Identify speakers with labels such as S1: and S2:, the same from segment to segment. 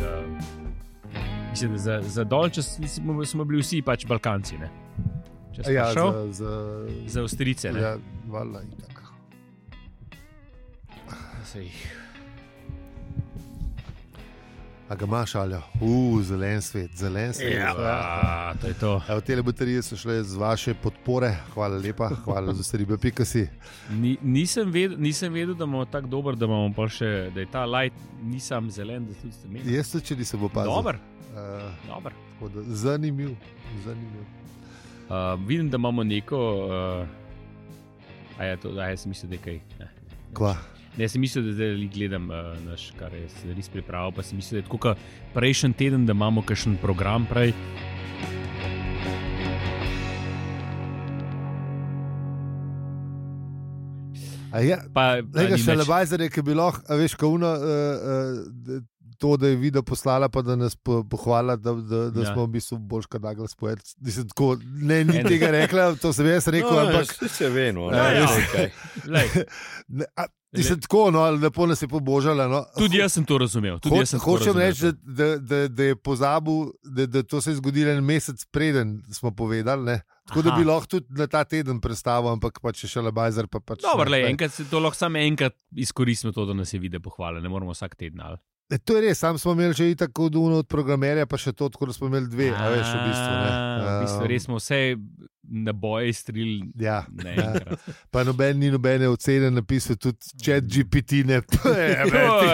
S1: eh, mislim, da za, za dol, če smo, smo bili vsi pač Balkanci. Ne? Če si
S2: Ja,
S1: šel
S2: za, za,
S1: za, za Avstrijce, ne?
S2: ja, valjda in tako.
S1: Se jih-
S2: A ga imaš, ali uh, zelen svet, zelen svet.
S1: Ja, to je to.
S2: Evo, te lebuterije so šle z vaše podpore, hvala lepa, hvala za vse ribe, pika si.
S1: Ni, nisem, vedel, nisem vedel, da imamo tako dober, da, imamo pol še, da je ta light, nisem zelen, da tudi ste imeli.
S2: Jaz se čudi, se bo pa.
S1: Dober,
S2: Uh,
S1: dober.
S2: zanimiv, zanimiv.
S1: Uh, vidim, da imamo neko. Uh, a je to, a jaz sem mislil, da je kaj. Ne,
S2: Kva.
S1: ne sem mislil, da zdaj gledam uh, naš, kar je se res pripravil, pa sem mislil, da je tako kot prejšnji teden, da imamo kakšen program prej.
S2: A ja,
S1: Pa, pa
S2: Lega
S1: ni
S2: še
S1: nič.
S2: lebajzer je, ki bi lahko, a veš, kauno, uh, uh, to, da je video poslala, pa da nas po, pohvala, da, da, da
S1: Ja.
S2: ja. smo v bistvu boljška dagla spojed. Mislim, tako, ne, ni tega rekla, to sem jaz rekel, no, ampak
S3: saj se ve, no,
S2: Ja,
S3: ne,
S1: ja.
S3: nekaj.
S1: Glej,
S2: ne, a, mislim, tako, no, lepo nas je pobožala. No.
S1: Tudi jaz sem to razumel. Tudi jaz sem to
S2: hočem
S1: razumel. ja.
S2: reči, da, da, da, da je pozabil, da, da to se je zgodilo en mesec preden smo povedali. Ne? Tako Aha. da
S1: Aha.
S2: bi lahko tudi na ta teden predstavil, ampak pa če še lebajzer, pa pač.
S1: Dobar, lej,
S2: naprej.
S1: enkrat se to lahko samo enkrat izkoristimo, to, da nas je videl pohvale, ne moramo vsak teden. Ali?
S2: E, to je res, sam smo imeli že tako duno od programerja, pa še to, tako da smo imeli dve, a veš, v bistvu. Ne.
S1: A, v bistvu
S2: Um,
S1: res smo vse naboje izstrelili.
S2: Ja,
S1: naenkrat.
S2: pa noben ni nobene ocene napisal, tudi če GPT ne.
S1: Oj,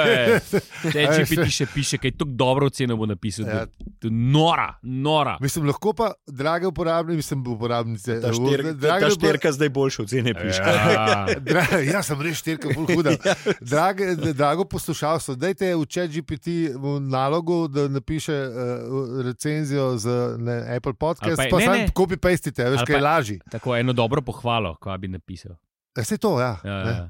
S1: Te
S2: A veš,
S1: GPT še piše, kaj tako dobro oceno bo napisal.
S2: Ja.
S1: Ja. Nora, nora.
S2: Mislim, lahko pa, drage uporabnike, mislim, uporabnice.
S3: Ta, štir, ta, ta
S2: drage upor-
S3: štirka zdaj boljše ocene piše.
S1: Ja.
S2: Dra, ja, sem res štirka, pol huda. Drage, drago poslušalstvo, dajte v chat GPT v nalogu, da napiše uh, recenzijo za ne, Apple podcast,
S1: Ali pa-
S2: pa,
S1: ne,
S2: pa sam
S1: ne.
S2: copy paste, veš,
S1: Ali
S2: kaj
S1: pa-
S2: laži.
S1: Tako eno dobro pohvalo, ko bi napisal.
S2: Vse to, ja.
S1: Ja,
S2: ne.
S1: ja.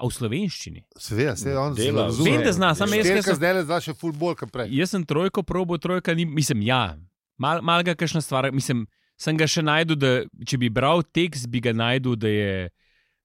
S1: A v slovenščini.
S2: Seveda, se on
S3: Dela,
S2: razume.
S3: Zume.
S1: Vem, da zna, samo jaz, jaz,
S2: Štirka
S1: sem-
S2: zdaj le zdaj še full bolj, kot prej.
S1: jaz sem trojko probo, trojka ni, mislim, ja, mal, mal ga kakšna stvar, mislim, sem ga še najdel, da če bi bral tekst, bi ga najdel, da je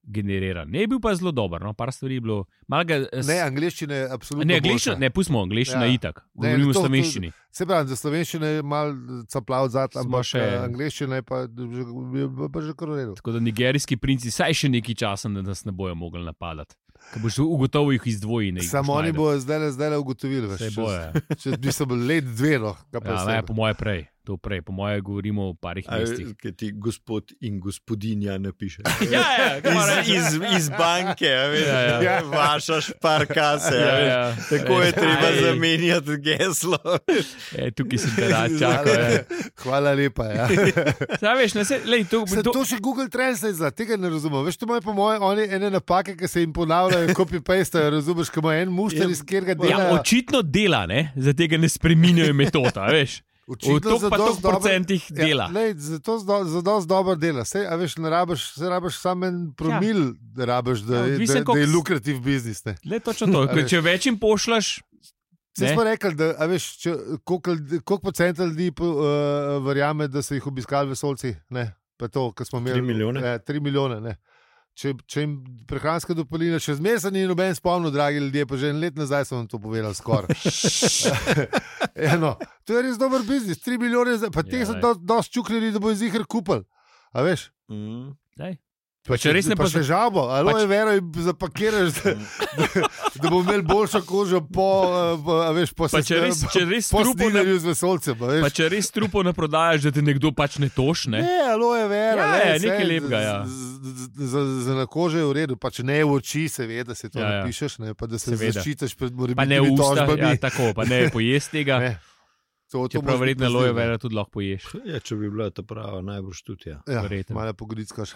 S1: generiran. Ne je bil pa zelo dober, no, par stvari je bilo. Mal Ga, eh, s-
S2: Ne, angliščina je absolutno.
S1: ne, angliščina,
S2: boljša.
S1: ne, pustimo angliščina
S2: Ja.
S1: ja. itak,
S2: Ne,
S1: govorimo o
S2: to- to-
S1: slovenščini.
S2: Se pravi, za slovenščino je mal caplav zad,
S1: Smo
S2: ampak
S1: še-
S2: še... angliščina je pa že, je pa že koronel.
S1: Tako da nigerijski princi saj še nekaj časa da nas ne bojo mogli napadati. Ko boš ugotovil, jih izdvoji.
S2: Samo oni bodo zdaj le ugotovili,
S1: Se
S2: veš.
S1: bojo. ja.
S2: Če bi se bil let dve, no, kaj pa
S1: Ja,
S2: vse.
S1: ne, po moje prej, to prej, po moje govorimo o parih
S3: A,
S1: mestih.
S3: Kaj ti gospod in gospodinja napiše.
S1: Ja, ja, kaj moram
S3: Iz,
S1: reči.
S3: iz, iz banke, a veš,
S1: Ja, ja.
S3: ja. vašaš par kase. Ja, ja. Tako je treba
S1: Ej,
S3: zamenjati geslo.
S1: E, tukaj sem te rad
S2: Hvala,
S1: čakal. ja.
S2: hvala lepa. Ja.
S1: Saj veš, ne, se, lej, to,
S2: Se,
S1: to,
S2: to še Google Translate za tega ne razumem. Veš, to imajo po mojem oni ene napake, ki se jim ponavljajo, copy paste, razumeš, ko ima en mušter iz katerega
S1: ja,
S2: dela.
S1: očitno dela, ne? za tega ne spreminjajo metoda. Veš. V toliko pa toliko procentih dela.
S2: Ja, lej, zato zdo- za dosti dobro dela. Sej, a veš, ne rabiš, saj rabiš samo en promil, ja. rabiš, da,
S1: Ja,
S2: ja,
S1: odvisno,
S2: da, da je
S1: koliko s-
S2: lukrativ biznis. Ne.
S1: Le točno to. Ko- Če več jim pošljaš,
S2: Vse
S1: Ne.
S2: smo rekli, da a veš, če, koliko, ljudi- koliko procentov ljudi po- uh, verjame, da so jih obiskali vesolci. Ne, pa to, kar smo imeli.
S3: Tri milijone?
S2: Ne, tri milijone ne. Če, če jim prehranska dopolnila še zmeraj se ni noben spomnil, dragi ljudje, pa že en let nazaj sem vam to povedal, skoraj. Eno, to je res dober biznis, tri milijone, za- pa
S1: Ja,
S2: teh so
S1: lej.
S2: do- dosti čukljeni, da bo iz jih kupil. A veš?
S3: Mm.
S1: daj. Pa če res ne
S2: pa
S1: poz-
S2: še žabo, ali
S1: pa če-
S2: pač... je vero, in zapakiraš, da, da, da bo imel boljšo kožo po, eh, po, a veš, po
S1: pa če res, če res trupo ne
S2: Posneli z vesolcem. a
S1: Pa
S2: veš.
S1: če res trupo ne prodajaš, da te nekdo pač ne tošne.
S2: Ne, aloe vera.
S1: Ja,
S2: lej,
S1: je,
S2: saj,
S1: nekaj lepega, ja.
S2: z- z- z- Za, za na kožo je v redu, pa če ne v oči, seveda se to
S1: Ja, ja.
S2: ja, napišeš, ne, pa da se
S1: Seveda.
S2: seveda. zaščitiš pred
S1: Pa ne
S2: morebitnimi
S1: usta,
S2: tožbami.
S1: ja, tako, pa ne poješ tega.
S2: Ne, to, to
S1: Čeprav
S2: moraš
S1: verjetno
S2: biti
S1: loje
S2: pazljiv, ne.
S1: vera tudi lahko poješ.
S3: Ja, če bi bila ta prava, najbrž tudi. Ja.
S2: Ja,
S1: verjetno.
S2: malo pogritskaš.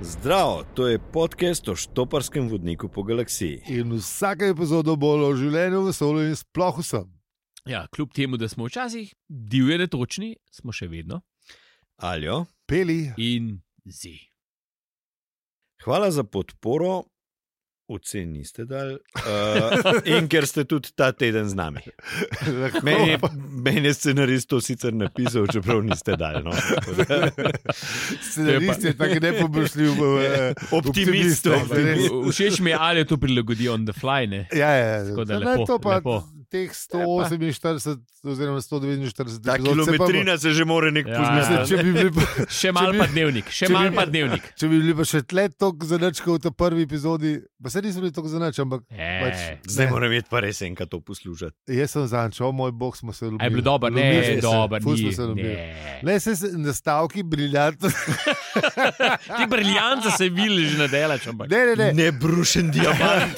S3: Zdravo, to je podcast o štoparskem vodniku po galaksiji.
S2: In vsaka epizoda bo o življenju, vesolju in sploh vsem.
S1: Ja, kljub temu, da smo včasih divje netočni, smo še vedno
S3: Aljo,
S2: Peli,
S1: in zi.
S3: hvala za podporo. Ocen niste dali, uh, in ker ste tudi ta teden z nami.
S2: lahko
S3: Meni je,
S2: pa
S3: meni je scenarist to sicer napisal, čeprav niste dali. No. Tako da-
S2: scenarist je tako nepoboljšljiv. eh,
S3: Optimist,
S1: no,
S2: optimist, ne.
S3: optimist.
S1: Všeč mi je, ali je to prilagodi on the fly. Ne?
S2: Ja, ja, ja.
S1: Tako da
S2: Ne,
S1: lepo,
S2: to pa
S1: lepo.
S2: teh 148 oziroma 149
S3: Ta
S2: epizod se pa-
S3: kilometrina se že more nek
S1: Ja,
S3: poznati.
S1: ja.
S2: Mislim, če bi bili pa-
S1: Še malo
S2: bi-
S1: pa dnevnik, še
S2: če bi-
S1: malo pa dnevnik.
S2: Če bi bili pa še tle tako zanačka v tej prvi epizodi, pa se nismo bili tako zanačka, ampak pač,
S1: E,
S3: Zdaj
S2: ne.
S3: moram videti, pa res enkrat to poslušati.
S2: jaz sem zanč, o moj bog, smo se ljubili.
S1: a je bilo dobro,
S2: Ljubili
S1: ne,
S2: smo se,
S1: dobro,
S2: ful smo
S1: ni.
S2: se ljubili.
S1: ne.
S2: Ne, se nastavki briljantno.
S1: Ti briljanta se viliš na delač, ampak.
S2: Ne, ne, ne.
S3: Nebrušen diamant.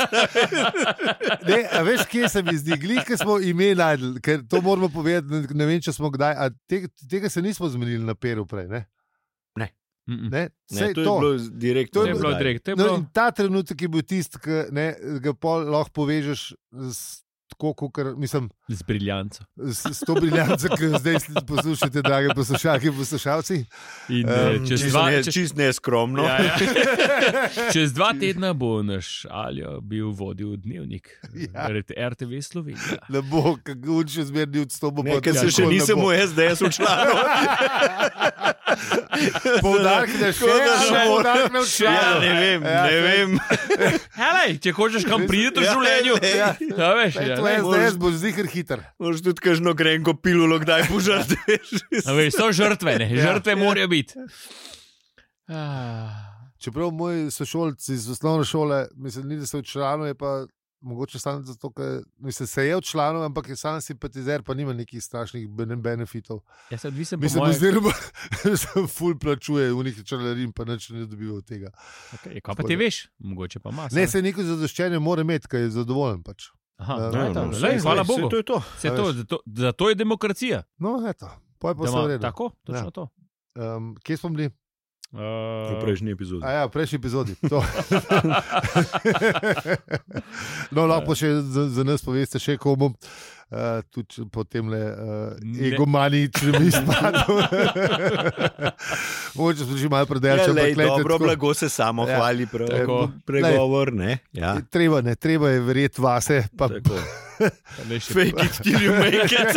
S2: ne a veš, kje se mi zdi, glih, ker smo ime najdel, ker to moramo povedati, ne- ne vem, če smo kdaj, a te, tega se nismo zmenili na peru prej, ne?
S1: Mm, mm.
S2: ne?
S3: Ne,
S2: Saj
S3: to je bilo direktno.
S1: To je bilo
S3: dodaj.
S1: direkt, to je
S2: No,
S1: bilo.
S2: in ta trenutek je bil tisti, ki ne, ga pol lahko povežeš s, tako, kot mislim.
S1: Z briljanco.
S2: S, s to briljanco, ki jo zdaj sli- poslušate, drage poslušalke in poslušalci.
S1: In,
S2: Em,
S1: um, čez,
S3: Čist
S1: dva,
S3: ne-
S1: čez,
S3: Čist
S2: no.
S3: neskromno.
S1: ja, ja. čez dva tedna bo naš Aljo bil vodil dnevnik
S2: Ja.
S1: ja. RTV Slovenija.
S2: Ne bo, kako še zmerni odstopil.
S3: Ne, Ker se še nisem v SDS učlanil.
S2: Poudarek na še
S3: Tako da
S2: eno,
S3: ne morem.
S2: poudarek na še
S3: Ja, ne
S2: eno.
S3: vem,
S2: Ja,
S3: ne
S2: to-
S3: vem.
S1: Helej, če hočeš kam priti v
S3: Ja,
S1: življenju,
S3: ja.
S1: ja, veš,
S2: Ej,
S1: ja,
S2: To
S1: ne.
S2: je
S3: ne,
S2: zdaj, boš zihar hiter.
S3: Moš tudi kažno grenko pilulo, kdaj požrteš.
S1: A veš, so žrtve, ne?
S2: Ja.
S1: žrtve morajo biti. Ah,
S2: Čeprav moji sošolci iz osnovne šole, mislim, ni, da se odčlanil, je pa mogoče samo zato, ker mislim, se je odčlanil, ampak je sam simpatizer, pa nima nekih strašnih bene- benefitov.
S1: Jaz sem odvisen od
S2: Mislim,
S1: tega.
S2: oziroma, se ful plačuje, v njih čelarin pa nič ne dobiva od tega.
S1: Ja, Kaj pa ti veš, mogoče pa imaš.
S2: Ne, se neko zadoščenje mora imeti, ker je zadovoljen pač.
S1: Aha, no,
S2: Ja, ja,
S1: tam,
S2: no,
S1: lej,
S2: saj,
S1: hvala
S2: saj,
S1: Bogu.
S3: To je to.
S1: Se
S2: a
S1: to,
S2: veš.
S1: zato, zato je demokracija.
S2: No, eto, pa je
S1: da
S2: pa vse v redu.
S1: tako, točno
S2: Ja.
S1: ja. to.
S2: Um, kje smo bili?
S3: V
S1: Uh,
S3: prejšnji epizodi.
S2: A ja, v prejšnji epizodi. To. no, lahko pa še za, za nas poveste, še komu. Uh, tudi potem le uh,
S1: Ne.
S2: egomani, če bi spadal. Moče smo že malo
S3: Ja,
S2: predelali,
S3: lej,
S2: ampak lejte,
S3: dobro,
S2: tako-
S3: blago se samo
S2: Ja,
S3: hvali, prav,
S1: tako.
S3: pregovor. Ne, ja.
S2: je Treba, ne, treba je verjeti vase. Pa,
S3: Tako.
S1: lej, še-
S3: Fake it, till you make it.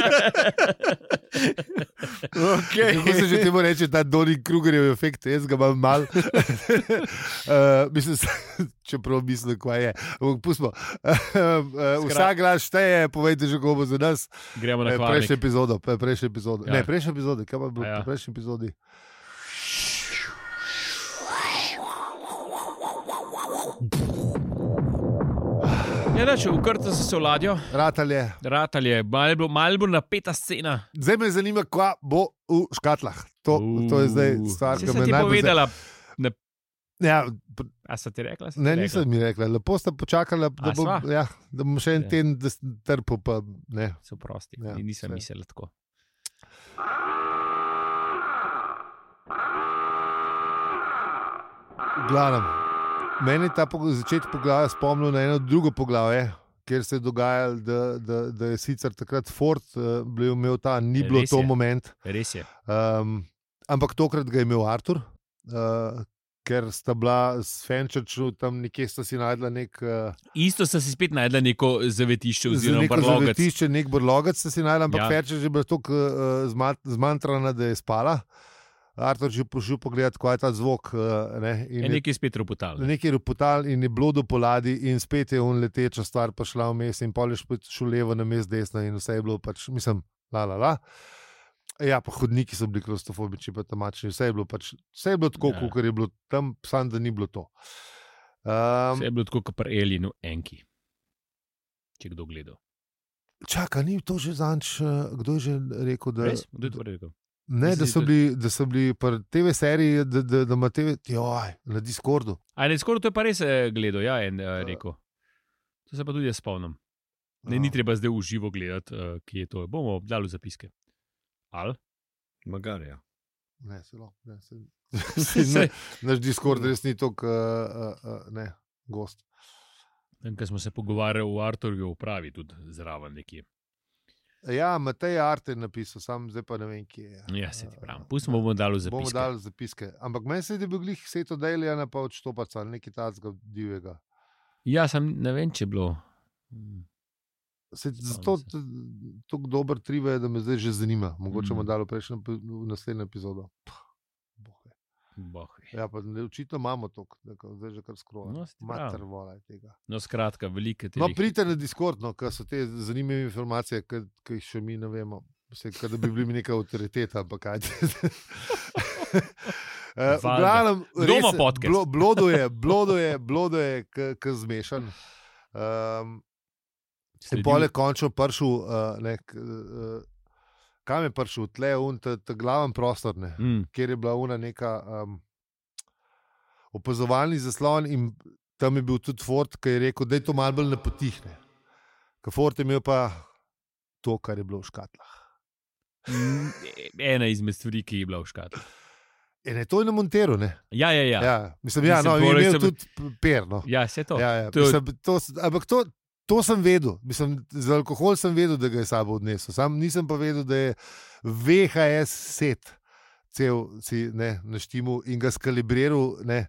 S3: okay.
S2: Kako se že temu reče, ta Doni Krugerjev efekt, jaz ga imam mal. uh, mislim, čeprav mislim, kva je. Ampak Pustimo. Uh, vsak glas šteje, povejte že, kako bo za nas.
S1: Gremo na
S2: Eh,
S1: kvarnik.
S2: Prejšnjo epizodo, pe- prejšnjo epizodo.
S1: Ja.
S2: Ne, prejšnjo epizodo, kaj pa je bilo
S1: A ja.
S2: ja. prejšnji epizodi?
S1: Ja, da, če ukrta se se v ladjo,
S2: Ratalje.
S1: ratal je, malo je bilo- malo je bila napeta scena.
S2: Zdaj me zanima, kva bo v škatlah. To, to je zdaj
S1: Uh,
S2: stvar,
S1: saj
S2: ki
S1: sem
S2: me
S1: ti
S2: najbolj zanima.
S1: povedala,
S2: Ja, p-
S1: a si ti rekla? sem ti
S2: ne,
S1: rekla?
S2: nisem mi rekla. Lepo sta počakala,
S1: A,
S2: da bom,
S1: sva?
S2: ja, da bom še en
S1: Ja.
S2: teden da sem trpel. Pa, ne.
S1: Se prosti,
S2: Ja,
S1: ja, nisem
S2: saj.
S1: mislil tako.
S2: Glavnem, meni je ta pog- začetek poglavja spomnil na eno drugo poglavje, kjer se je dogajalo, da, da, da je sicer takrat Ford eh, bil imel ta, ni
S1: Res
S2: bilo to
S1: je.
S2: moment,
S1: Res je.
S2: um, ampak tokrat ga je imel Artur, uh, ker sta bila s Fenčačem tam nekje, sta si najdla nek, uh,
S1: Isto sem si spet najdel neko zavetišče, oziroma
S2: neko
S1: brlogac.
S2: zavetišče, nek brlogac sta si najdla, ampak
S1: Ja.
S2: ja. Fenčač je bila tako uh, zma- zmantrana, da je spala. Artur je pošel pogledat, kaj je ta zvok. Uh, ne, in
S1: Je
S2: je
S1: Ja, nekaj spet ropotal. Ne?
S2: Nekaj je ropotal in je bilo do poladi, in spet je on leteča stvar prišla vmes, in pol je špet šel levo, na mest desno, in vse je bilo pač, mislim, la la la. Ja, pa hodniki so bili klostofobični, pa tamačni, vse je bilo pač, vse je bilo tako,
S1: Ja.
S2: ja. kot je bilo tam, sam da ni bilo to. Um,
S1: Vse je bilo tako, kot pri Elinu, enki. Če kdo gledal.
S2: čaka, ni to že zanč, kdo je že rekel, da,
S1: Res? Kdo je to rekel?
S2: ne, da,
S1: Mislim,
S2: so
S1: da-
S2: bili, da so bili pri TV seriji, da, da, da ima TV, joj, na Discordu.
S1: A ne, skoraj to je pa res eh, gledal, ja, en uh, rekel. To se pa tudi jaz spomnim. Ne,
S2: Ja,
S1: ni treba zdaj v živo eh, gledati, uh, ki je to. Bomo dali v zapiske. Al?
S3: ja. Magarja.
S2: Ne, zelo. Ne, se, se, ne, naš
S1: Ja.
S2: Discord res ni tako, uh, uh, uh, ne, gost.
S1: Ker smo se pogovarjali v Arturju, upravi tudi zraven nekje.
S2: Ja, Matej Arte je napisal, sam zdaj pa ne vem, kje je. Eh,
S1: Ja, se ti pravim. Pustimo, bomo dali za
S2: Bomo dali zapiske. Ampak meni se je, da je bil glih Seto Dejljana, pa odštopaca, nekaj tacga divjega.
S1: Ja, sam ne vem, če je bilo. Mm.
S2: Se,
S1: Spomnim
S2: zato
S1: se.
S2: t- tako dober trive je, da me zdaj že zanima. Mogoče
S1: Mm.
S2: bomo dali v prejšnjo, epi- v naslednjo epizodo. Pah, boh ve.
S1: Boh ve.
S2: Ja, pa ne, očitno imamo to, zdaj že kar skrova.
S1: No, se ti pravi.
S2: Mater vola je tega.
S1: No, skratka, velike te.
S2: No, pridite na Discord, no, ker so te zanimive informacije, ki ki jih še mi ne vemo. Vse, kot da bi bili mi neka avtoriteta, ampak kaj. Uh, v
S1: Valjda.
S2: glavnem,
S1: Kdo
S2: res
S1: ima
S2: je,
S1: podcast?
S2: blo- Blodo je, blodo je, blodo je, ki zmešan. Um, in pol je končno prišel, uh, ne, k- uh, kam je prišel, tle, un, ta, ta glaven prostor, ne,
S1: Mm,
S2: kjer je bila una neka um, opazovalni zaslon in tam je bil tudi Ford, ki je rekel, da je to malce bolj napotihne. Ker Ford je imel pa to, kar je bilo v škatlah.
S1: mm, ena izmed stvari, ki je bila v škatli.
S2: In je to je na Monteru, ne?
S1: Ja, ja, ja. ja.
S2: Ja, ja. mislim, ja,
S1: Mislim, torej
S2: no, in je
S1: poleg
S2: imel
S1: sebe-
S2: tudi p- perno.
S1: ja se to.
S2: Ja, ja.
S1: To je-
S2: Mislim, to, s- ampak to, to sem vedel, mislim, za alkohol sem vedel, da ga je s sabo odnesel. Sam nisem pa vedel, da je VHS set, cel si ne, naštimu in ga skalibriral. Ne.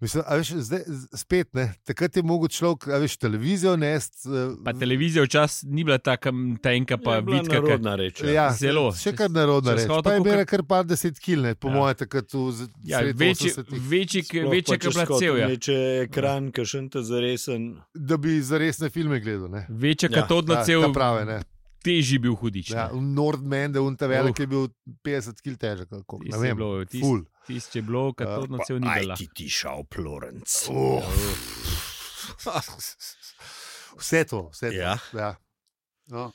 S2: Mislim, a veš, zdaj, z- spet ne. Takrat je mogoče človek, a veš, televizijo nest. eh,
S1: Pa televizija včasih ni bila tako tenka, pa
S3: Ja, je bila
S1: vitka. kaj-
S3: narodna reč. Ja.
S2: Ja,
S1: zelo.
S2: Še
S1: Čez-
S2: kar narodno
S1: čez
S2: reči.
S1: hotel
S2: Pa je
S1: kakor-
S2: imela kar par deset kil, ne, po
S1: Ja.
S2: ja. mojem, takrat v z-
S1: Ja,
S2: sred
S1: večji,
S2: 80-ih,
S1: večji, ke- večji, kot je bila cel. Ja.
S3: Če je ekran, ki še te zaresen,
S2: da bi za resne filme gledal. Ne.
S1: Večja
S3: Ja,
S1: katodna
S2: Ta-
S1: cel,
S2: ta prave, ne.
S1: težji bil hudič. Ja,
S2: Ja, Nordman, da je ta velik,
S1: Uf.
S2: je bil 50 kg težek. ali koliko, Ne
S1: Tisto je
S2: vem,
S1: bilo, tisto-
S2: ful.
S1: Tisti je bilo,
S3: No,
S1: katodna cel ni bila.
S3: ti ti šel, Florence.
S1: Ja,
S2: Oh. Vse to, vse to.
S3: Ja.
S2: Ja. No.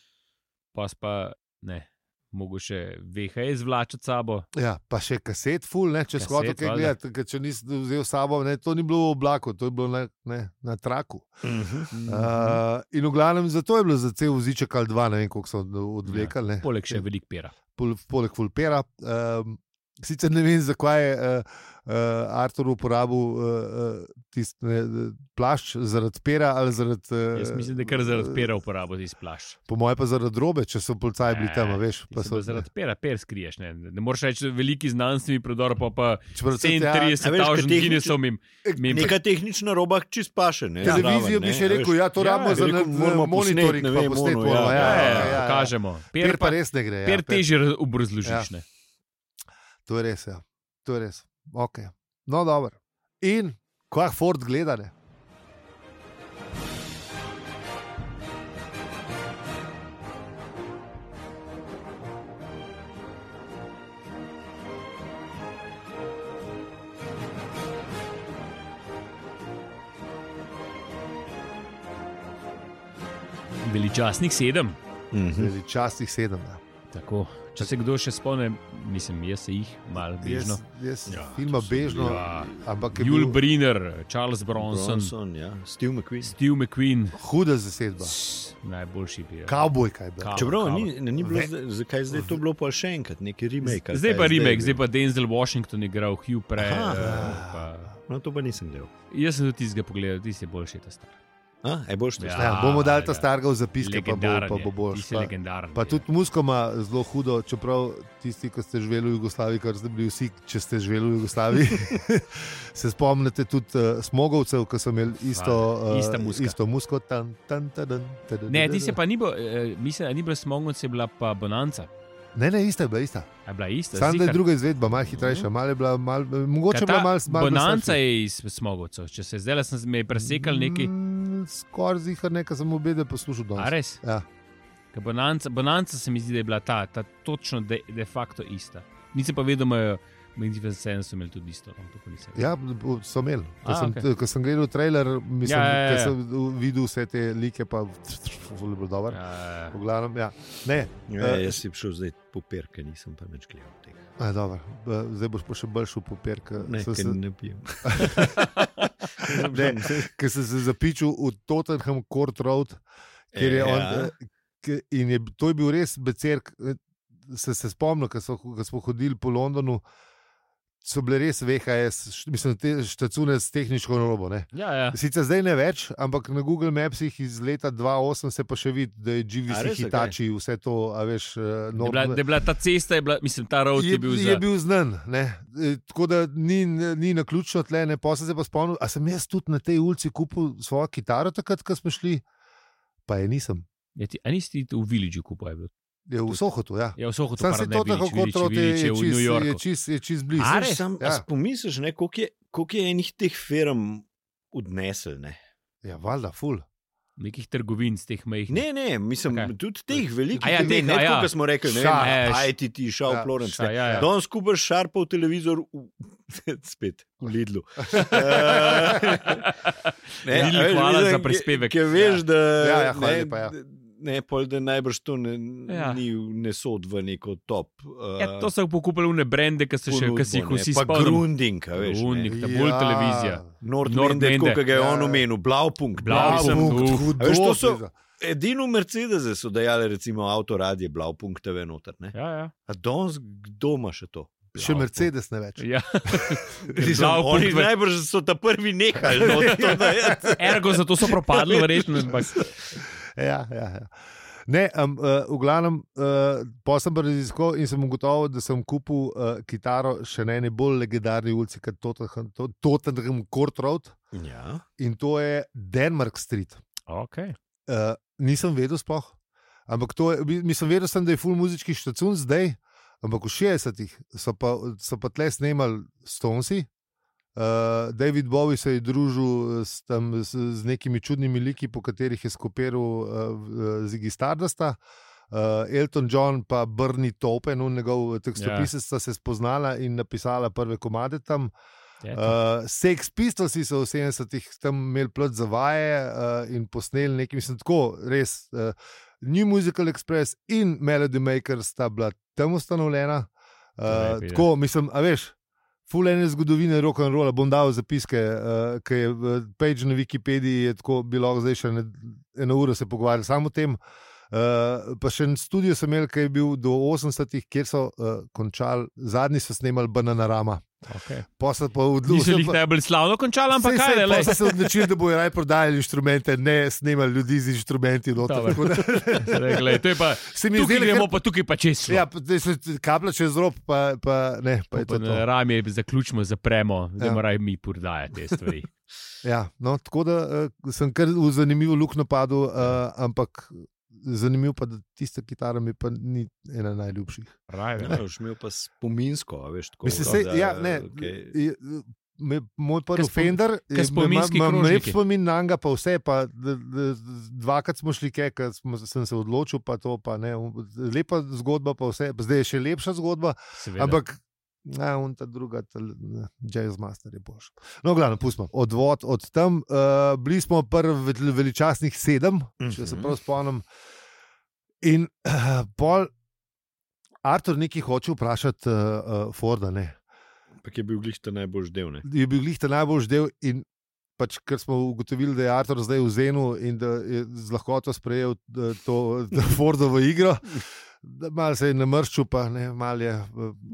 S1: Pas pa ne. Mogoče VHS vlačati sabo.
S2: Ja, pa še kaset, ful, ne, če
S1: Kaset,
S2: skoto kaj
S1: valjda.
S2: gledati, ker če nisi vzel s sabo, ne, to ni bilo v oblaku, to je bilo na, ne, na traku.
S3: Mhm.
S1: Mm, Mhm.
S2: Uh, in v glavnem zato je bilo za cel vziček ali dva, ne vem koliko so od- odvlekali. ne.
S1: Ja, Poleg še velik pera.
S2: pol- poleg Fulpera. Um, sicer ne vem, zakaj je uh, uh, Artur uporabil uh, tisti ne, plašč zaradi pera ali zaradi. Uh,
S1: Jaz mislim, da je kar zaradi pera uporabo ti splaš.
S2: Po mojem, pa zaradi robe, če so policaj bili tam, a veš.
S1: Pa so zaradi pera, per skriješ. Ne, ne moreš reči, veliki znanstveni prodor, pa pa
S2: Čeprav se
S1: 37
S2: ja,
S3: a veš,
S1: tisoč
S3: ke tehnični-
S1: Guinnessov jim. jim-
S3: Neka tehnična roba čist paše. Ne,
S2: Televizijo
S3: zraven,
S2: bi
S3: Ja. ne,
S2: še
S3: a veš.
S2: rekel, ja, to
S1: Ja,
S2: rabimo
S1: ja,
S2: za
S3: bi rekel,
S2: na-
S3: moramo
S2: na monitoring,
S3: posnet, ne
S2: pa
S3: vem,
S2: posnet
S3: ono,
S2: moramo.
S3: ja,
S2: Ja,
S1: Ja,
S2: ja,
S1: ja,
S2: ja, ja.
S1: Pokažemo.
S2: Per
S1: Per,
S2: pa
S1: pa,
S2: res ne gre. ja,
S1: per
S2: per-
S1: težje obrazložiš. ne.
S2: To je res, ja. To je res. Okay. No, dobro. In kaj Ford gleda? Ne?
S1: Veličastnik sedem.
S3: Mhm.
S2: Zdaj, Častih sedem. Ja.
S1: Tako. Če se kdo še spomne, mislim, jaz se jih malo bližno.
S2: Jaz, jaz
S3: Ja,
S2: ja, filma
S3: to so
S2: bežno,
S3: bili-
S1: Ja.
S2: ampak je
S1: Jul
S2: bil
S1: Briner, Charles Bronson, Bronson.
S3: Bronson, ja. Steve McQueen.
S1: Steve McQueen,
S2: huda zasedba.
S1: najboljši bil.
S2: Kavbojka je bila.
S1: Kav-
S3: Čeprav
S1: Kava.
S3: ni, ni bilo,
S2: Ve-
S3: zdaj, zakaj zdaj to bilo pa še enkrat, neki remake. ali
S1: Zdaj
S3: kaj
S1: pa
S3: je
S1: Rimek,
S3: bil?
S1: zdaj pa Denzel Washington je igral, Hugh Pre.
S3: Aha.
S1: eh, pa-
S3: No, to pa nisem del.
S1: Jaz sem tudi tistega pogledal, ti si boljši ta star.
S3: A, je boš to?
S1: Ja.
S2: Ja, bomo dali ta
S1: ja.
S2: starega v zapiske, pa bo,
S1: Legendaren
S2: pa
S1: je, ja.
S2: bo bolj.
S1: ti si legendaren.
S2: Pa
S1: je.
S2: tudi musko ima zelo hudo, čeprav tisti, ki ste živeli v Jugoslaviji, kar ste bili vsi, če ste živeli v Jugoslaviji, se spomnite tudi uh, smogovcev, ki so imeli isto,
S1: Fajn, ista
S2: uh,
S1: muzika.
S2: isto musko. Tan, tan, tadan, tadan,
S1: Ne, ti se pa ni bilo, eh, mislim, da ni bilo smognut, se je bila pa bonanca.
S2: Ne, ne, ista je bila ista.
S1: A Je bila ista.
S2: Samo da je
S1: zihar?
S2: druga izvedba, malo hitrejša, malo je bila, mal, mogoče je
S1: Ker
S2: bila
S1: ta
S2: malo mal
S1: Bonanca je iz smogovcev, če se zdaj le sem me presekal neki.
S2: Mm, Skoraj zihar nekaj sem obede poslušal
S1: A
S2: danes.
S1: res?
S2: Ja.
S1: Ker Bonanca, bonanca se mi zdi, da je bila ta, ta točno de, de facto ista. Nisem pa vedel, da je Medvedev Sense imel tudi isto. no, to pa nisem vedel.
S2: Ja, bo- so imeli. Ko,
S1: A,
S2: sem,
S1: okej.
S2: okay. ko sem gledal trailer, mislim,
S1: Ja, ja, ja,
S2: ja,
S1: ja.
S2: sem v- videl vse te like, pa zelo je bilo dobro. Ja.
S1: Ja,
S2: V glavnem, ja. Ne,
S3: Ja, jaz sem šel zdaj po perke, nisem pa več gledal tega.
S2: a, dobro, b- zdaj boš pa še bolj šel po perk.
S3: Ne,
S2: Sem
S3: se...
S2: se,
S3: ne pijem.
S2: Ne. ker sem se zapičil v Tottenham Court Road, kjer je
S3: Ja.
S2: on. eh, ke- In je, to je bil res becerk. eh, se, se spomnil, ko so- ko smo hodili po Londonu, so bile res VHS, št- mislim, te štacune s tehnično robo. Ne?
S1: Ja, ja.
S3: Ah.
S2: Sicer zdaj ne več, ampak na Google Mapsih iz leta 2008 se pa še vidi, da je
S3: A
S2: GVC
S3: res,
S2: Hitači, vse to, a veš, eh,
S1: Da je, bila,
S2: normalno.
S1: da je bila ta cesta, je bila, mislim, ta road je, je bil za.
S2: no, je bil znan. Ne? E, Tako da ni, ni na ključno tle, ne posebej se pa spomnim. A sem jaz tudi na tej ulici kupil svojo kitaro, takrat, ko smo šli, pa je nisem.
S1: Je Ja, ti, a nisi ti tu v Villageu kupil?
S2: Je v Sohotu, ja.
S1: Ja, v Sohotu,
S2: Sam se
S1: pardon, ne
S2: to tako
S1: Village,
S2: kot otroci,
S1: Village,
S2: je
S1: Village v New Yorku.
S2: čist, je čist blizu.
S1: A
S3: Saj
S1: res?
S3: Sam,
S2: Ja.
S3: ja. Pomisliš, ne, koliko, je, koliko je enih teh firm odnesel. Ne,
S2: Ja, valjda, ful.
S1: Nekih trgovin z teh majhnih.
S3: ne, ne mislim,
S1: Kaj?
S3: okay. tudi teh velikih,
S1: A ja,
S3: teh,
S1: teh,
S3: ne,
S1: a ja.
S3: tako, kot smo rekli, ne,
S2: Sharp.
S1: Ja,
S3: vem,
S1: š-
S3: ITT, Shaw,
S2: Ja,
S3: Florence.
S1: Ša,
S3: ne.
S1: ja, ja.
S3: Danes skupaš šarpov televizor, v, spet v Lidlu. Eh,
S1: Ne, Lidl,
S3: a veš,
S1: hvala
S3: mislim,
S1: za
S3: ki-
S1: prispevek.
S3: Ki veš, da
S2: Ja, ja, hvala
S3: ne,
S2: lepa, ja.
S3: ne, pol, da najbrž to ne,
S1: Ja.
S3: ja. ni, ne sod v neko top. Uh,
S1: Ja, to so pokupili vne brende, ki so še, ki si jih vsi
S3: pa
S1: spomnili.
S3: Grunding, a veš.
S1: Grunding. Nek ta bolj televizija. Nordmende.
S3: Nordmende, tako kot ga je
S2: Ja.
S3: on omenil, Blaupunkt.
S1: Blau,
S2: Blau,
S1: Mislim,
S2: bum,
S1: uf.
S2: hudo,
S3: A veš, to so-
S2: pizda.
S3: Edino Mercedes so dajali, recimo, avtoradje Blaupunkt TV noter. Ne?
S1: Ja, ja.
S3: A danes kdo ima še to?
S2: Še Mercedes ne več.
S1: ja.
S3: Mislim,
S1: Blaupunkt
S3: oni
S1: v- Ja.
S3: Najbrž so ta prvi nehali, no, to da je.
S1: Ergo, zato so propadli, verjetno. ampak-
S2: Ja, ja, ja. Ne, um, uh, v glavnem, uh, pa sem pa raziskal in sem ugotovil, da sem kupil uh, kitaro še na eni bolj legendarni ulici, kot Tottenham, To- Tottenham Court Road
S3: Ja.
S2: in to je Denmark Street.
S1: Okay.
S2: Uh, nisem vedel sploh, ampak to je, mi- mislim, vedel sem, da je full muzički štacun zdaj, ampak v 60-ih so pa, so pa tle snemali Stonesi. Uh, David Bowie se je družil s, tam, s, z nekimi čudnimi liki, po katerih je skopiral uh, Ziggy Stardasta. Uh, Elton John in Brni Topen, on njegov tekstopisec, sta se spoznala in napisala prve komade tam. Uh, Sex Pistols so v 70-ih tam imeli plot za vaje uh, in posneli nekaj, mislim, tako res. Uh, New Musical Express in Melody Maker sta bila tam ustanovljena.
S1: To
S2: Uh,
S1: ne bi, ja.
S2: tako, mislim, a veš. Fulejne zgodovine rock and rolla, bom dal zapiske, uh, ki je uh, page na Wikipediji, je tako bilo, zdaj še ne, eno uro se pogovarjali samo o tem. Uh, pa še en studio sem imel, ki je bil do 80-ih, kjer so uh, končali, zadnji so snemali Bananarama.
S1: okay.
S2: Pa so Eh, pa
S1: Niso
S2: odločili,
S1: jih najbolj slavno končali, ampak
S2: Saj,
S1: kaj
S2: saj,
S1: je le?
S2: pol so se odločili, da bojo raje prodajali inštrumente, ne snemali ljudi z inštrumenti. Noter,
S1: Dobro.
S2: tako da-
S1: Glej, to je pa,
S2: se mi
S1: tukaj
S2: zdi,
S1: gremo
S2: da
S1: pa tukaj pa čez.
S2: ja, pa zdaj se kaplja čez rob, pa, pa ne. Pa je to to.
S1: Rami zaključimo, zapremo, da
S2: Ja.
S1: morajo mi prodajati te stvari.
S2: Ja, no, tako da uh, sem kar v zanimivo luknjo padel, uh, ampak eh, zanimivo pa je, da tista kitara mi pa ni ena najljubših.
S1: Raje,
S3: Ja, už imel pa spominsko, a veš, tako.
S2: Mislim,
S3: da-
S2: se, ja, ne,
S3: okej.
S2: je, me, moj prvi
S1: Kaj spom-
S2: Fender,
S1: kaj spominski
S2: imam lep
S1: krožniki?
S2: spomin na njega, pa vse. Pa, d, d, dvakrat smo šli, kaj sem se odločil, pa to pa ne. Lepa zgodba, pa vse, zdaj je še lepša zgodba,
S1: seveda.
S2: Veda. ampak. Ja, on ta druga, ta l- ne, jazz master je boš. No, glavno, pustimo odvod od tam. Uh, bili smo prvi vel- veličastnih sedem, če se
S3: Mhm.
S2: prav spomnim. In uh, pol, Artur, nekaj hoče vprašati uh, uh, Forda, ne.
S3: Ampak je bil glih ta najbolj del. Ne?
S2: je bil njih ta najboljši del. In pač, ker smo ugotovili, da je Artur zdaj v Zenu in da je z lahkoto sprejel eh, to eh, Fordovo igro. da Malo se je namrščil, pa ne, malo je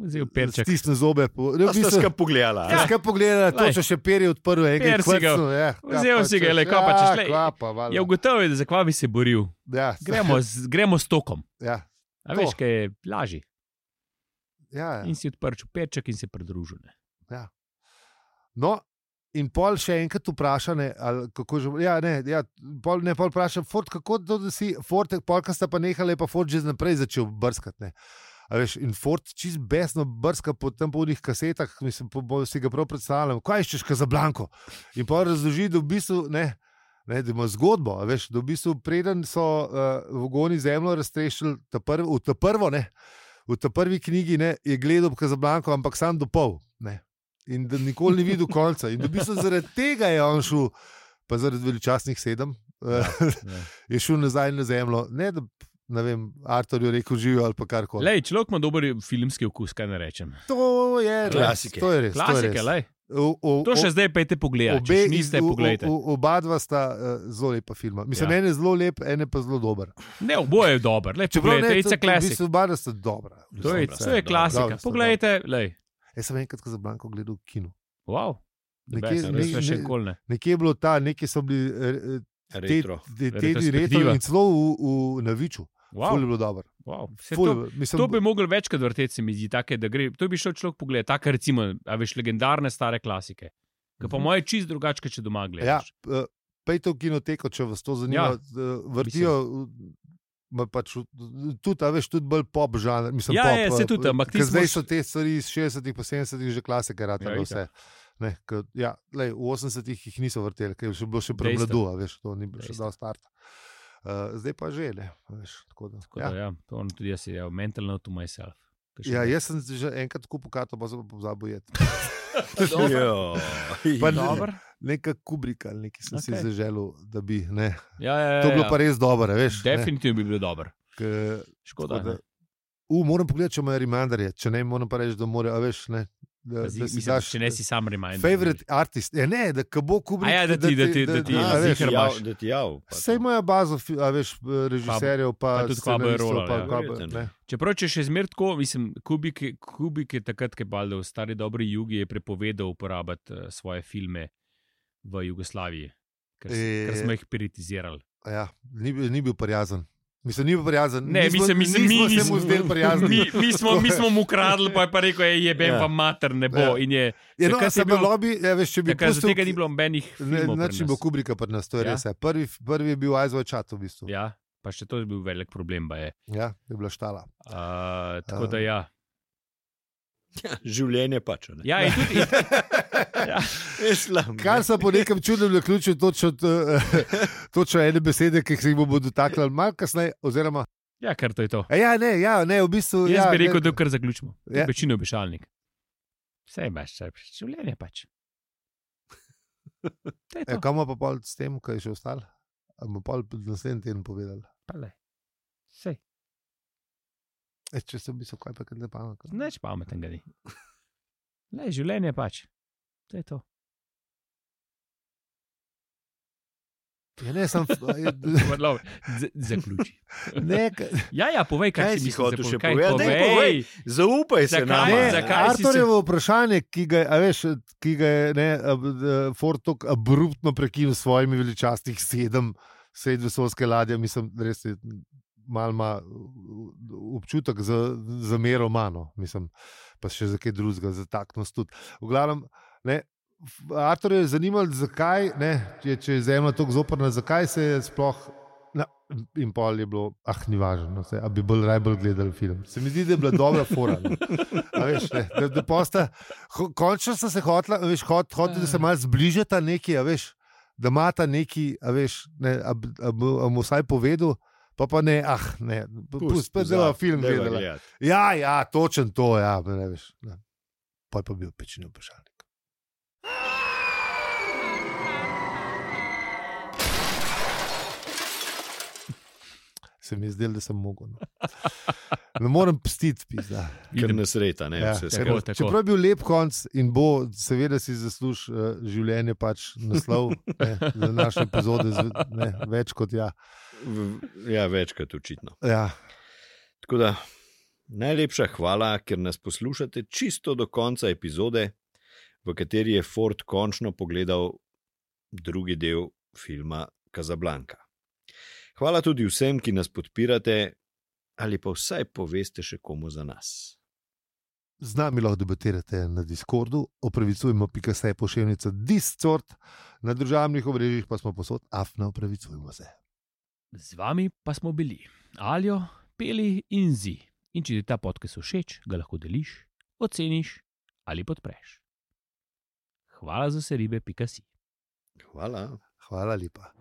S1: Vzel perček.
S2: stisnil zobe. po- Ne,
S3: A sta ska pogledala.
S2: Ja,
S3: Ja.
S2: kaj pogledaj, to
S1: Lej.
S2: če še peri odprl, enkrat
S1: Per si ga-
S2: kvrcnil, ja,
S1: vzel si ga, lej, kaj pa češ, lej. Je Ja, ugotovil, da zakva bi se boril.
S2: Ja,
S1: Gremo z, gremo s tokom.
S2: ja,
S1: A
S2: To.
S1: veš, kaj je lažje.
S2: ja, ja.
S1: In si odprl peček in se pridružil. ne.
S2: No, in pol še enkrat vprašane, kako že. Ja, ne, ja, pol, ne, pol vprašam, Ford, kako to, da si Ford, polka sta pa nehala, je pa Ford že naprej začel brskati. ne. A Veš, in Ford čist besno brska po tem podnih kasetah, mislim, po, po, si ga prav predstavljam, kaj iščeš za Blanko. In pa razloži, da v bistvu ne. Ne, da ima zgodbo, a veš, da v bistvu preden so uh, vogoni zemljo raztrešili, ta prv, v ta prvo, ne, v ta prvi knjigi ne, je gledal Kazablanko, ampak sam do pol. Ne in da nikoli ni videl konca. In da v bistvu zaradi tega je on šel, pa zaradi veličastnih sedem, ja,
S1: ja.
S2: je šel nazaj na zemljo. Ne, da ne vem, Artur je rekel živijo ali pa kar koli.
S1: Lej, človek ima dober filmski okus, kaj ne rečem.
S2: To je res.
S3: Klasike.
S2: Ja, To je res. to je
S1: Klasike,
S2: res.
S1: lej.
S2: O, o,
S1: To
S2: o-
S1: še zdaj pejte pogledati. Obe
S2: Obe
S1: Ja, niste
S2: iz- o-
S1: pogledajte.
S2: o- o- Oba dva sta uh, zelo lepa filma. Mislim,
S1: Ja.
S2: ja. en je zelo lep, en je pa zelo dober.
S1: Ne, oboje je dobro. Le,
S2: Čeprav
S1: Poglejte,
S2: ne,
S1: Ica klasik.
S2: so oba dva sta dobra.
S1: To je,
S3: Dobra,
S1: to je
S3: dobra,
S1: klasika.
S2: dobra, sta
S1: Poglejte, lej.
S2: Jaz sem enkrat za Blanko gledal v kinu.
S1: Wow.
S2: Nekje,
S1: Nekje,
S3: ne-
S1: nekje, še
S2: ne-
S1: nikoli ne.
S2: Nekje je bilo ta, nekje so bili eh, eh, te,
S3: Retro.
S2: te, te
S1: Retrospektiva.
S2: direktorje in celo v, v Naviču. Wow. Ful je
S1: Wow,
S2: bilo dobro.
S1: wow. Se
S2: Ful je
S1: To,
S2: bilo- mislim,
S1: to bi mogel večkrat vrteti, se mi zdi, take, da gre. To bi šel človek pogledati, tako recimo, a veš legendarne stare klasike. Ki po
S3: Mhm.
S1: mojem je čist drugače, kot če doma
S2: Ja,
S1: gledaš.
S2: eh, Pojdite v kinoteko, če vas to
S1: Ja,
S2: zanima. Ja, vrtijo. ma Pač, v- tudi, a veš, tudi bolj pop žanr. Mislim,
S1: Ja,
S2: pop,
S1: je, sej
S2: eh,
S1: tudi, ampak ti
S2: ker
S1: smo
S2: Zdaj
S1: š-
S2: so te stvari iz 60-ih, pa 70-ih že klasike,
S1: Ja,
S2: ratale vse. Ne, k, ja, lej, v 80-ih jih niso vrteli, ker je še bilo še
S1: Dejstvo.
S2: premladu, a veš, to ni bilo še
S1: Dejstvo.
S2: dal start. Uh, zdaj pa že, ne. a Veš, tako da,
S1: Tako da, ja, to on tudi jaz je, mental note to myself. Ke še
S2: ja. ja,
S1: ne.
S2: jaz sem že enkrat kupil karto, pa sem pa pozabil jeti.
S3: Jo.
S2: Pa ne-
S1: Dobro.
S2: Neka kubrika, ali nekaj sem okay.
S1: Okej.
S2: si zaželel, da bi. Ne.
S1: Ja, ja, ja,
S2: To je bilo
S1: ja.
S2: pa res dobro, a veš. ne,
S1: Definitivno bi bilo dobro.
S2: ke-
S1: Škoda.
S2: Tako da-
S1: ne.
S2: U, moram pogledati, če ima reminderje, če ne, moram pa reči, da mora, a veš, ne. Da,
S1: Pazi,
S2: da eh, si
S1: mislim,
S2: daš,
S1: Če ne si sam reminder.
S2: Favorite artist, ja, ne, da ko bo Kubrick.
S1: A ja, da ti- da ti- da ti-
S3: Ja,
S2: a
S1: da
S2: veš,
S1: zihar-
S3: jav, da ti jav. pa
S2: Sej
S3: to.
S2: moja baza, fi- a veš, režiserjev, pa,
S1: pa tudi Kvabo je
S2: scenaristov,
S1: rolal,
S2: pa
S1: ja.
S2: Kvabo,
S3: Verjetno.
S2: ne.
S1: Čeprav če še zmeraj tako, mislim, Kubik, je- Kubik je takrat, ki je bal, da v stari dobri jugi je prepovedal uporabljati eh, svoje filme v Jugoslaviji, ker, e,
S2: E,
S1: ker smo jih piritizirali.
S2: A Ja, ni, bil- ni bil prijazen. Mislim, ni bil prijazen.
S1: Ne,
S2: nismo,
S1: mislim, mislim, mi
S2: nismo se
S1: nismo-
S2: mu zdeli prijazni.
S1: Mi, mi, smo, mi smo mu ukradli, pa je pa rekel, je jeben,
S3: Ja.
S1: pa mater ne bo.
S2: Ja.
S1: In je,
S2: Ja, no,
S1: takrat je
S2: sem
S1: bil-
S2: bil lobby, ja, veš, če bi
S1: takrat,
S2: pustil.
S1: zaradi tega ni bilo nobenih
S2: Ne,
S1: filmov.
S2: nič
S1: pri
S2: ni bilo
S1: nas.
S2: Kubrika pri nas, to je
S1: Ja.
S2: ja. res. Ja. Prvi, prvi je bil Aizvoj Čat, v bistvu. Ja,
S1: Ja, pa še to je bil velik problem. baje.
S2: ja je bila štala.
S1: Uh, tako
S2: Ja.
S1: da ja.
S3: Življenje pač. a ne.
S1: Ja, in tudi, in, ja.
S3: Je slab.
S2: Kar sem po nekem čudnem naključju, točno, t- točno ene besede, ki se jih bomo dotaknili malo kasneje. Oziroma,
S1: ja, kar to je to.
S2: a ja, ne, ja, ne, v bistvu.
S1: Jaz
S2: ja,
S1: bi rekel,
S2: ne,
S1: da kar zaključimo. Ja.
S2: Ja.
S1: Večino je obešalnik. Vse imaš, vse imaš, življenje pač. To je
S2: Ja,
S1: to.
S2: kaj bomo pa pol s tem, kaj je še ostalo? A bomo pol naslednji teden povedali.
S1: Pa glej. Sej,
S2: E, če sem bil kaj, pa kaj ne pametno.
S1: nič pametnega ni. Lej, življenje pač. To je to.
S2: Ja, ne, sem.
S1: Vrlo, z- Zaključi.
S2: Ne, ka-
S1: Ja, ja, povej,
S3: Kaj
S1: kaj,
S3: si
S1: si mislil,
S3: hotel
S1: za
S3: še
S1: pol- kaj
S3: povedati? Daj, povej. Zaupaj se
S1: Zakaj?
S3: nam.
S1: Ne,
S2: ne
S1: zakaj? si se-
S2: Arturjevo vprašanje, ki ga, je- a veš, ki ga je ne, ab- eh, Ford tako abruptno prekinil s svojimi veličastih sedem, sedem vesolske ladje, mislim, res je. Mal ima občutek za, za mero mano, mislim, pa še za kaj drugega, za taktnost tudi. V glavnem, ne, Artur je zanimalo, zakaj, ne, če, če je zemlja tako zoprna, zakaj se je sploh. Na, in pol je bilo, ah, ni važno, no, saj, a bi bolj rajbol gledali film. Se mi zdi, da je bila dobra fora. no. A Veš, ne, da, da posta, ho, končno sta se hotla, a veš, hot, hotel, da se malo zbližata neki, a veš, da imata neki, a veš, ne, a, b- a, b- a mu vsaj povedal, pa pa ne, ah, ne, pusti, pa da film gledala. Ja, ja, točen to, ja, ne veš. Ne. Pa je pa bil pečen vprašalnik. Se mi je zdelo, da sem mogel. No. Ne morem pstiti, pisa.
S3: Ker
S1: Idem.
S3: nas reta, ne.
S2: Ja,
S3: vse
S2: ker-
S1: tako,
S3: skupaj.
S1: tako.
S2: Čeprav je bil lep konc in bo, seveda, si zaslužil uh, življenje, pač naslov ne, za naše epizode, z, ne, več kot ja.
S3: V- Ja, večkrat očitno.
S2: ja.
S3: Tako da, najlepša hvala, ker nas poslušate čisto do konca epizode, v kateri je Ford končno pogledal drugi del filma Kazablanka. Hvala tudi vsem, ki nas podpirate, ali pa vsaj poveste še komu za nas.
S2: Z nami lahko debatirate na Discordu, opravičujemo, pika se je pošiljnica Discord, na državnih omrežjih pa smo posod, afna opravičujemo se.
S1: Z vami pa smo bili Aljo, Peli in Zi. In če ti ta podcast všeč, ga lahko deliš, oceniš ali podpreš. Hvala za vse ribe, pika si.
S3: Hvala.
S2: Hvala lepa.